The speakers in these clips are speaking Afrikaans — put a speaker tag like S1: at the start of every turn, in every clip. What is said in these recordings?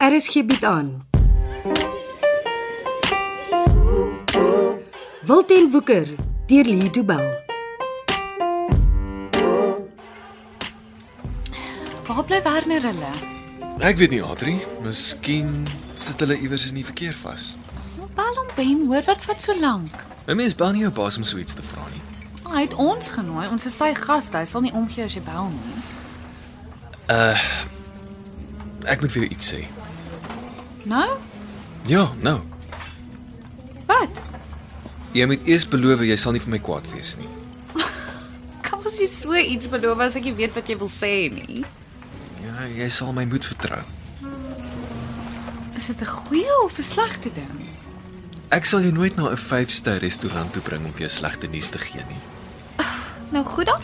S1: RSG bied Er aan. Wilten Woeker deur Lee Du Bell.
S2: Waar bly Werner hulle?
S3: Ek weet nie, Adri, miskien sit hulle iewers in die verkeer vas.
S2: Bel hom Ben, hoor wat vat so lank?
S3: 'n Mens bel nie jou baas om so iets te vra nie.
S2: Ah, Hy het ons genooi. Ons is sy gaste. Hy sal nie omgee as jy bel nie.
S3: Ek moet vir jou iets sê.
S2: Nou?
S3: Ja, nou.
S2: Wat?
S3: Jy moet eers beloof jy sal nie vir my kwaad wees nie.
S2: Kan ons nie so iets beloof as ek nie weet wat jy wil sê nie?
S3: Ja, jy sal my moed vertrou.
S2: Is dit 'n goeie of 'n slegte ding?
S3: Ek sal jou nooit na 'n 5-ster restaurant toe bring om vir jou slegte nuus te gee nie.
S2: Nou goed dan.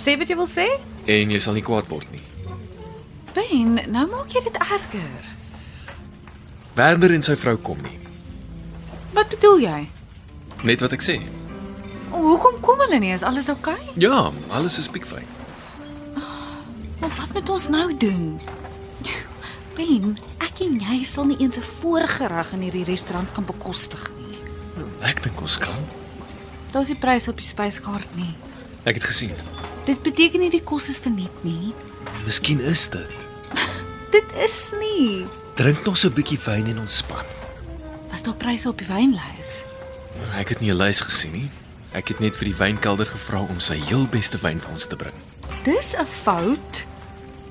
S2: Sê wat jy wil sê?
S3: En jy sal nie kwaad word nie.
S2: Ben, nou maak jy dit erger.
S3: Werner en sy vrou kom nie.
S2: Wat bedoel jy?
S3: Net wat ek sê.
S2: O, hoekom kom hulle nie? Is alles oukei? Okay?
S3: Ja, alles is piekfyn.
S2: Maar wat moet ons nou doen? Ben, ek en jy sal nie eens 'n voorgereg in hierdie restaurant kan bekostig nie.
S3: Ek dink ons kan.
S2: Daar's nie prys op die spyskaart nie.
S3: Ek het gesien.
S2: Dit beteken nie die kos is verniet nie.
S3: Miskien is dit.
S2: Dit is nie.
S3: Drink nog so 'n bietjie wyn en ontspan.
S2: Was daar pryse op die wynlys?
S3: Ek het nie 'n lys gesien nie. Ek het net vir die wynkelder gevra om sy heel beste wyn vir ons te bring.
S2: Dis 'n fout.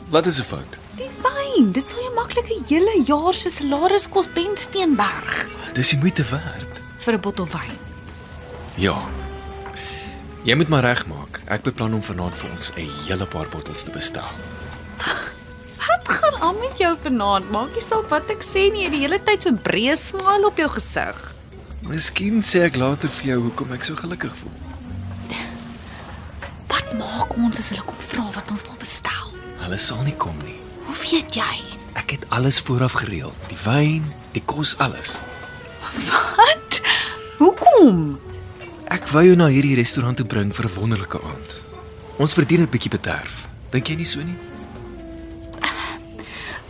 S3: Wat is 'n fout?
S2: Die wyn, dit sal jou maklik 'n hele jaar se salaris kos Ben Steenberg
S3: Dis die moeite werd.
S2: vir 'n bottel wyn.
S3: Ja. Jy moet maar regmaak. Ek beplan om vanaand vir ons 'n hele paar bottels te bestel.
S2: Wat gaan aan met jou vanaand? Maak nie saak wat ek sê nie, jy het die hele tyd so 'n breë smile op jou gesig.
S3: Miskien sê ek later vir jou hoekom ek so gelukkig voel.
S2: Wat maak ons as hulle kom vra wat ons wil bestel?
S3: Hulle sal nie kom nie.
S2: Hoe weet jy?
S3: Ek het alles vooraf gereël. Die wyn, die kos, alles.
S2: Wat? Hoekom?
S3: Ek wou jou na hierdie restaurant toe bring vir 'n wonderlike aand. Ons verdien 'n bietjie bederf. Dink jy nie so nie?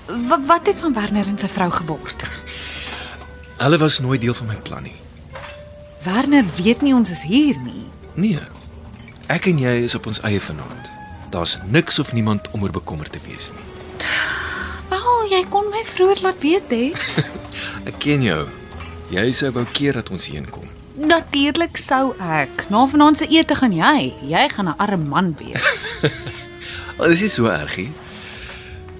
S2: W wat het van Werner en sy vrou geword?
S3: Hulle was nooit deel van my plan nie.
S2: Werner weet nie ons is hier nie.
S3: Nee. Ek en jy is op ons eie vanaand. Daar's niks of niemand om oor bekommerd te wees nie.
S2: Wel, jy kon my vroeër laat weet hè.
S3: Ek ken jou. Jy sou wou keer dat ons heenkom.
S2: Natuurlik sou ek. Na vanaand se ete gaan jy. Jy gaan 'n arm man wees.
S3: Al is dit so ergie.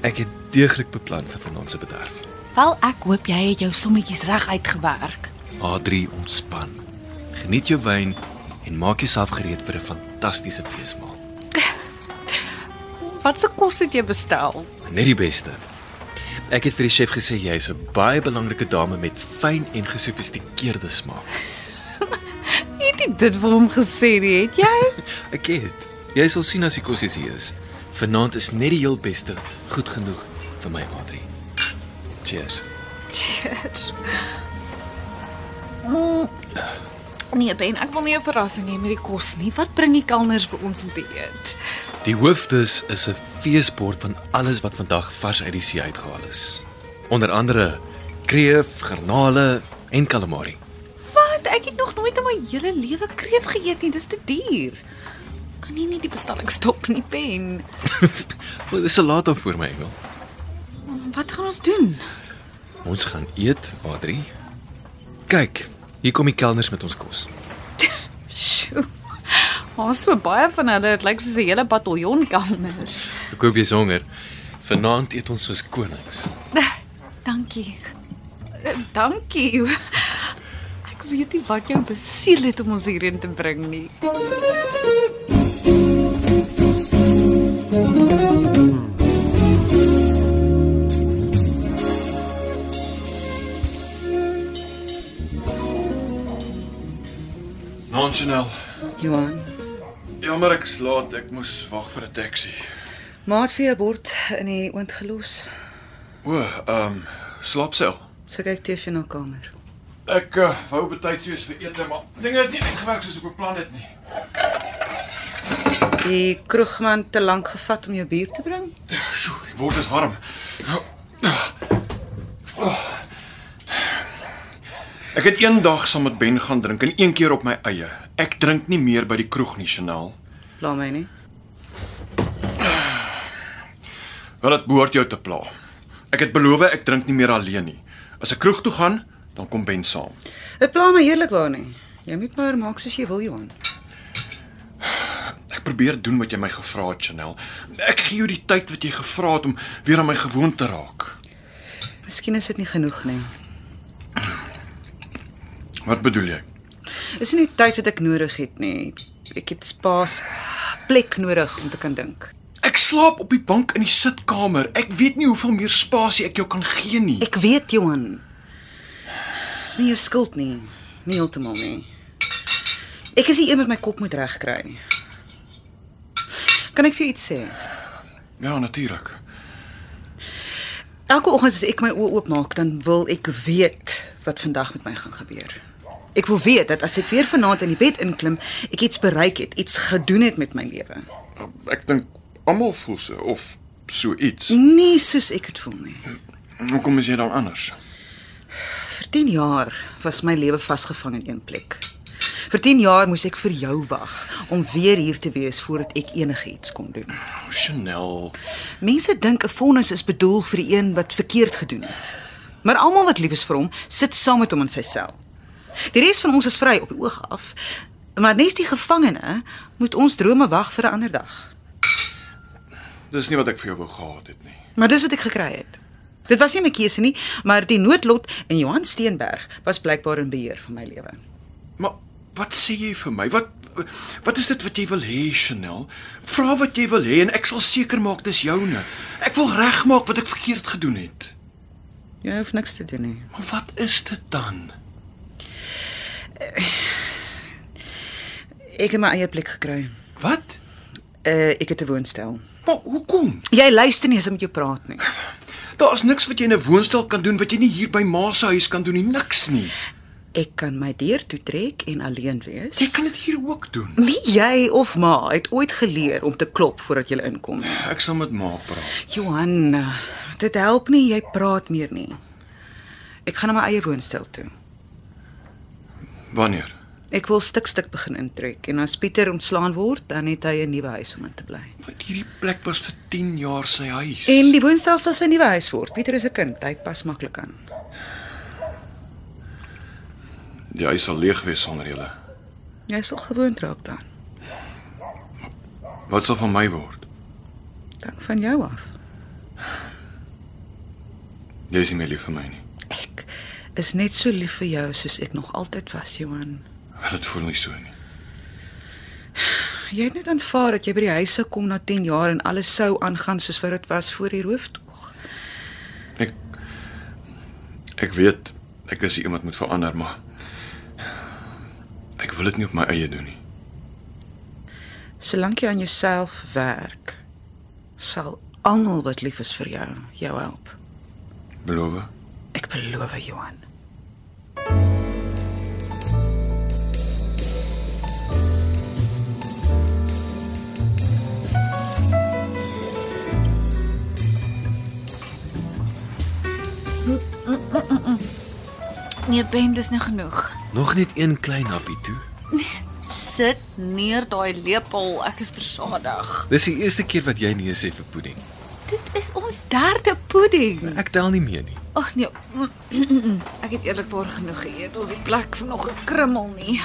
S3: Ek het deeglik beplan vir vanaand se bederf.
S2: Wel, ek hoop jy het jou sommetjies reg uitgewerk.
S3: A3 ontspan. Geniet jou wyn en maak jouself gereed vir 'n fantastiese feesmaal.
S2: Wat se kos het jy bestel?
S3: Net die beste. Ek het vir die chef gesê jy is 'n baie belangrike dame met fyn en gesofistikeerde smaak.
S2: Jy het nie dit vir hom gesê nie, het jy?
S3: Ek het. Jy sal sien as die kos is hier is. Vanaand is net die heel beste, goed genoeg vir my Adri. Cheers.
S2: Mm. Nee, Ben, ek wil nie 'n verrassing hê met die kos nie. Wat bring die kelners vir ons om te eet?
S3: Die hoofdis is 'n feesbord van alles wat vandag vars uit die see uitgehaal is. Onder andere kreef, garnale en calamari.
S2: Wat? Ek het nog nooit in my hele lewe kreef geëet nie. Dis te duur. Kan nie nie die bestelling stop nie, Ben.
S3: Wat is salaat daar voor my engel?
S2: Wat gaan ons doen?
S3: Ons gaan eet, Adri. Kyk, hier kom die kelners met ons kos.
S2: Sjoe. Ons so baie van hulle, dit lyk soos 'n hele bataljon kelners.
S3: Ek hoop jy's honger. Vanaand eet ons soos konings.
S2: Dankie. Eh, Dankie. Ek weet nie wat jou besiel het om ons hierheen te bring nie.
S4: Nonsenel.
S5: Johan,
S4: Jammer ek's laat. Ek moes wag vir 'n taxi.
S5: maat vir jou bord in die oond gelos.
S4: O, ehm, um, slaapsel.
S5: So kyk TV na kamer.
S4: Ek uh, wou betyds soos vir ete, maar dinge het nie uitgewerk soos ek beplan het nie.
S5: Die kroegman te lank gevat om jou bier te bring.
S4: Sjoe, die word is warm. Ek het eendag saam met Ben gaan drink en een keer op my eie. Ek drink nie meer by die kroeg nie, Chanel.
S5: Pla my nie.
S4: Wel dit behoort jou te pla. Ek het beloof ek drink nie meer alleen nie. As ek kroeg toe gaan, dan kom Ben saam.
S5: Dit pla my eerlikwaar nie. Jy moet maar maak soos jy wil, Johan.
S4: Ek probeer doen wat jy my gevra het, Chanel. Ek gee jou die tyd wat jy gevra het om weer aan my gewoon te raak.
S5: Miskien is dit nie genoeg nie.
S4: Wat bedoel jy?
S5: Dis nie die tyd wat ek nodig het nie. Ek het spaas, plek nodig om te kan dink.
S4: Ek slaap op die bank in die sitkamer. Ek weet nie hoeveel meer spasie ek jou kan gee nie.
S5: Ek weet, Johan. Dis nie jou skuld nie, nie heeltemal nie. Ek is hier een met my kop moet regkry. Kan ek vir jou iets sê?
S4: Ja, natuurlik.
S5: Elke oggend as ek my oë oopmaak, dan wil ek weet wat vandag met my gaan gebeur. Ek wil weet dat as ek weer vanaand in die bed inklim, ek iets bereik het, iets gedoen het met my lewe.
S4: Ek dink almal voel so of so iets.
S5: Nie soos ek dit voel nie.
S4: Hoekom is jy dan anders?
S5: Vir 10 jaar was my lewe vasgevang in een plek. Vir 10 jaar moes ek vir jou wag om weer hier te wees voordat ek enigiets kon doen.
S4: Oh, Chanel.
S5: Mense dink 'n vonnis is bedoel vir die een wat verkeerd gedoen het. Maar almal wat lief is vir hom, sit saam met hom in sy sel. Die res van ons is vry op die oog af, maar nes die gevangene moet ons drome wag vir 'n ander dag.
S4: Dis nie wat ek vir jou wou gehad het nie.
S5: Maar dis wat ek gekry het. Dit was nie my keuse nie, maar die noodlot en Johan Steenberg was blykbaar in beheer van my lewe.
S4: Maar wat sê jy vir my? Wat wat is dit wat jy wil hê, Chanel? Vra wat jy wil hê en ek sal seker maak dis joune. Ek wil regmaak wat ek verkeerd gedoen het.
S5: Jy hoef niks te doen nie.
S4: Maar wat is dit dan?
S5: Ek het my eie plek gekry.
S4: Wat?
S5: Uh, ek het 'n woonstel.
S4: Maar hoekom?
S5: Jy luister nie as ek met jou praat nie.
S4: Daar is niks wat jy in 'n woonstel kan doen wat jy nie hier by ma se huis kan doen nie, niks nie.
S5: Ek kan my deur toe trek en alleen wees.
S4: Jy kan dit hier ook doen.
S5: Nie jy of ma het ooit geleer om te klop voordat jy inkom nie.
S4: Ek sal met ma praat.
S5: Johan, dit help nie jy praat meer nie. Ek gaan na my eie woonstel toe.
S4: Wanneer?
S5: Ek wil stuk stuk begin intrek en as Pieter ontslaan word, dan het hy 'n nuwe huis om in te bly.
S4: Want hierdie plek was vir 10 jaar sy huis.
S5: En die woonstel sal sy nuwe huis word. Pieter is 'n kind, hy pas maklik aan.
S4: die huis sal leeg wees sonder julle.
S5: Jy sal gewoond raak daaraan.
S4: Wat sal van my word?
S5: Dank van jou af.
S4: Jy is nie meer lief vir my nie.
S5: Ek is net so lief vir jou soos ek nog altyd was, Johan.
S4: Wel dit voel nie so nie.
S5: Jy het net aanvaar dat jy by die huis sou kom na 10 jaar en alles sou aangaan soos wat dit was voor die rooftog.
S4: Ek ek weet ek is iemand moet verander, maar ek wil dit nie op my eie doen nie.
S5: Solank jy aan jouself werk, sal almal wat lief is vir jou jou help.
S4: Beloof?
S5: Ek beloof, Johan.
S2: Nee, Ben, dis nou genoeg.
S3: Nog net een klein happie toe.
S2: Sit neer daai lepel, ek is versadig.
S3: Dis die eerste keer wat jy nee sê vir pudding.
S2: Dit is ons derde pudding.
S3: Ek tel nie mee nie.
S2: Ag nee. Ek het eerlikwaar genoeg geëet. Ons het plek vir nog 'n krummel nie.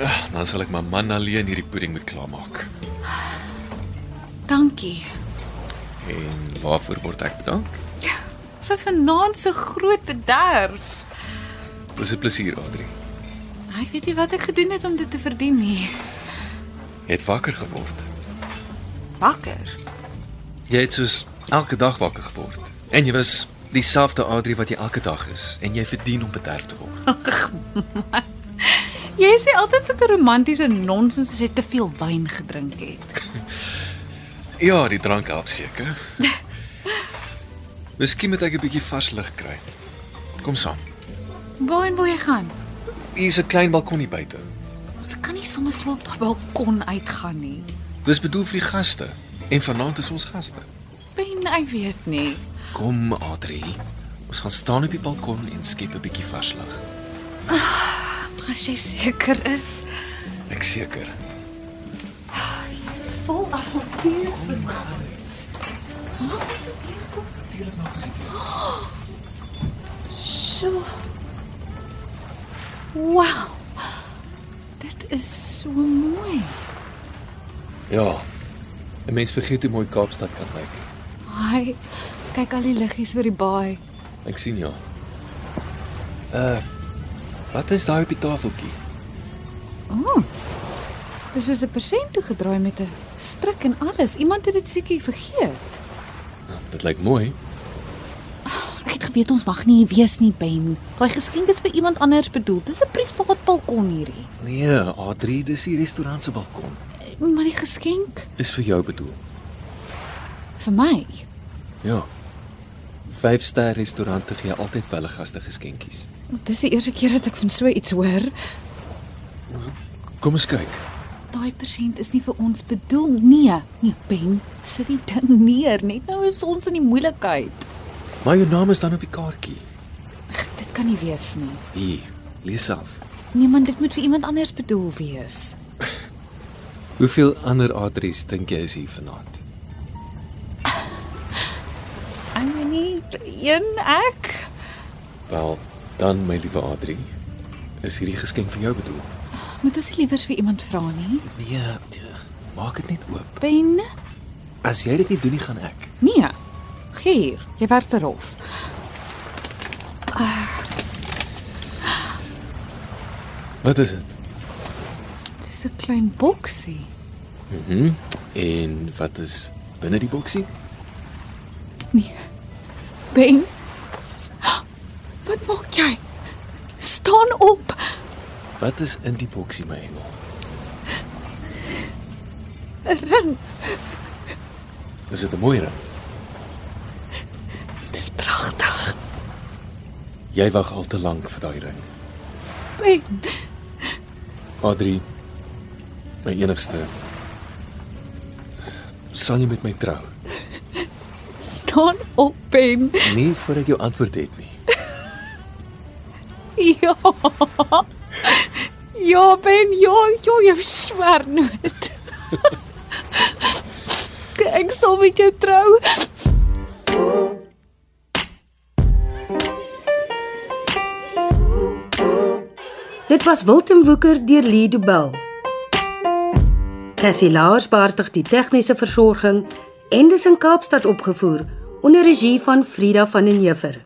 S3: Ag, dan sal ek my man alleen hierdie pudding moet klaarmaak.
S2: Dankie
S3: En waarvoor word ek bedank?
S2: vir vanaand se groot bederf.
S3: Dis 'n plesier, Adri.
S2: Ek weet nie wat ek gedoen het om dit te verdien nie.
S3: Jy het wakker geword.
S2: Wakker.
S3: Jy het soos elke dag wakker geword. En jy was dieselfde Adri wat jy elke dag is en jy verdien om bederf te word.
S2: Jy sê altyd sulke romantiese nonsens as jy te veel wyn gedrink het.
S3: Ja, die drank help seker. Miskien moet ek 'n bietjie vars lug kry. Kom saam.
S2: Waarheen wil jy gaan?
S3: Hier is 'n klein balkonie buite.
S2: Ons kan nie sommer so op daai balkon uitgaan nie.
S3: Dis bedoel vir die gaste en vanaand is ons gaste.
S2: Ben, ek weet nie.
S3: Kom, Adri. Ons gaan staan op die balkon en skep 'n bietjie vars lug.
S2: As jy seker is,
S3: Ek seker.
S2: is vol avontuur vermaak. Mag ons dit hier kom? Tuurlik mag ons dit. So. Wow. Dit is so mooi.
S3: Ja. 'n Mens vergeet hoe mooi Kaapstad kan lyk.
S2: Haai. Kyk al die liggies oor die baai.
S3: Ek sien ja. Uh Wat is daai op die tafeltjie?
S2: Dit is soos 'n persent toe gedraai met 'n strik en alles. Iemand het dit seker vergeet.
S3: Dit lyk mooi.
S2: Ek het geweet ons mag nie hier wees nie, Ben. Daai geskenk is vir iemand anders bedoel. Dit is 'n privaat balkon hierdie.
S3: Nee, A3, dis die restaurant se balkon.
S2: Maar die geskenk
S3: Is vir jou bedoel.
S2: vir my.
S3: Ja. Vyfster restaurante gee altyd vir hulle gaste geskenkies.
S2: Dis die eerste keer dat ek van so iets hoor.
S3: Kom ons kyk.
S2: Daai persent is nie vir ons bedoel nie. Nee, Ben, sit die ding neer. Net nou is ons in die moeilikheid.
S3: Maar jou naam is dan op die kaartjie.
S2: Ag, dit kan nie wees nie.
S3: Hier, lees self.
S2: Niemand dit moet vir iemand anders bedoel wees.
S3: Hoeveel ander A3's dink jy is hier vanaand?
S2: Ek weet nie een ek
S3: Wel, dan my liewe A3, is hierdie geskenk vir jou bedoel.
S2: moet ons nie liewers vir iemand vra nie.
S3: Nee, nee, maak dit net oop.
S2: Ben,
S3: As jy dit nie doen nie, gaan ek.
S2: nee. Gee hier. Jy werk te rof.
S3: Wat is dit?
S2: Dis 'n klein boksie.
S3: Mhm. Mm en wat is binne die boksie?
S2: Ben. Wat maak jy? Staan op.
S3: Wat is in die boksie, my engel? 'n Ring. Is dit 'n mooi ring?
S2: Dis pragtig.
S3: Jy wag al te lank vir daai ring.
S2: Ben,
S3: Adri, my enigste. Sal jy met my trou?
S2: staan op, Ben.
S3: Nee, voor ek jou antwoord het nie.
S2: Ja. Ja, Ben, ja, ja, jy swer nooit. Ek sal met jou trou.
S1: Dit was Wilten Woeker deur Lido Bell. Cassie Lars beheer die tegniese versorging en dis in Kaapstad opgevoer onder regie van Frida van den Heever.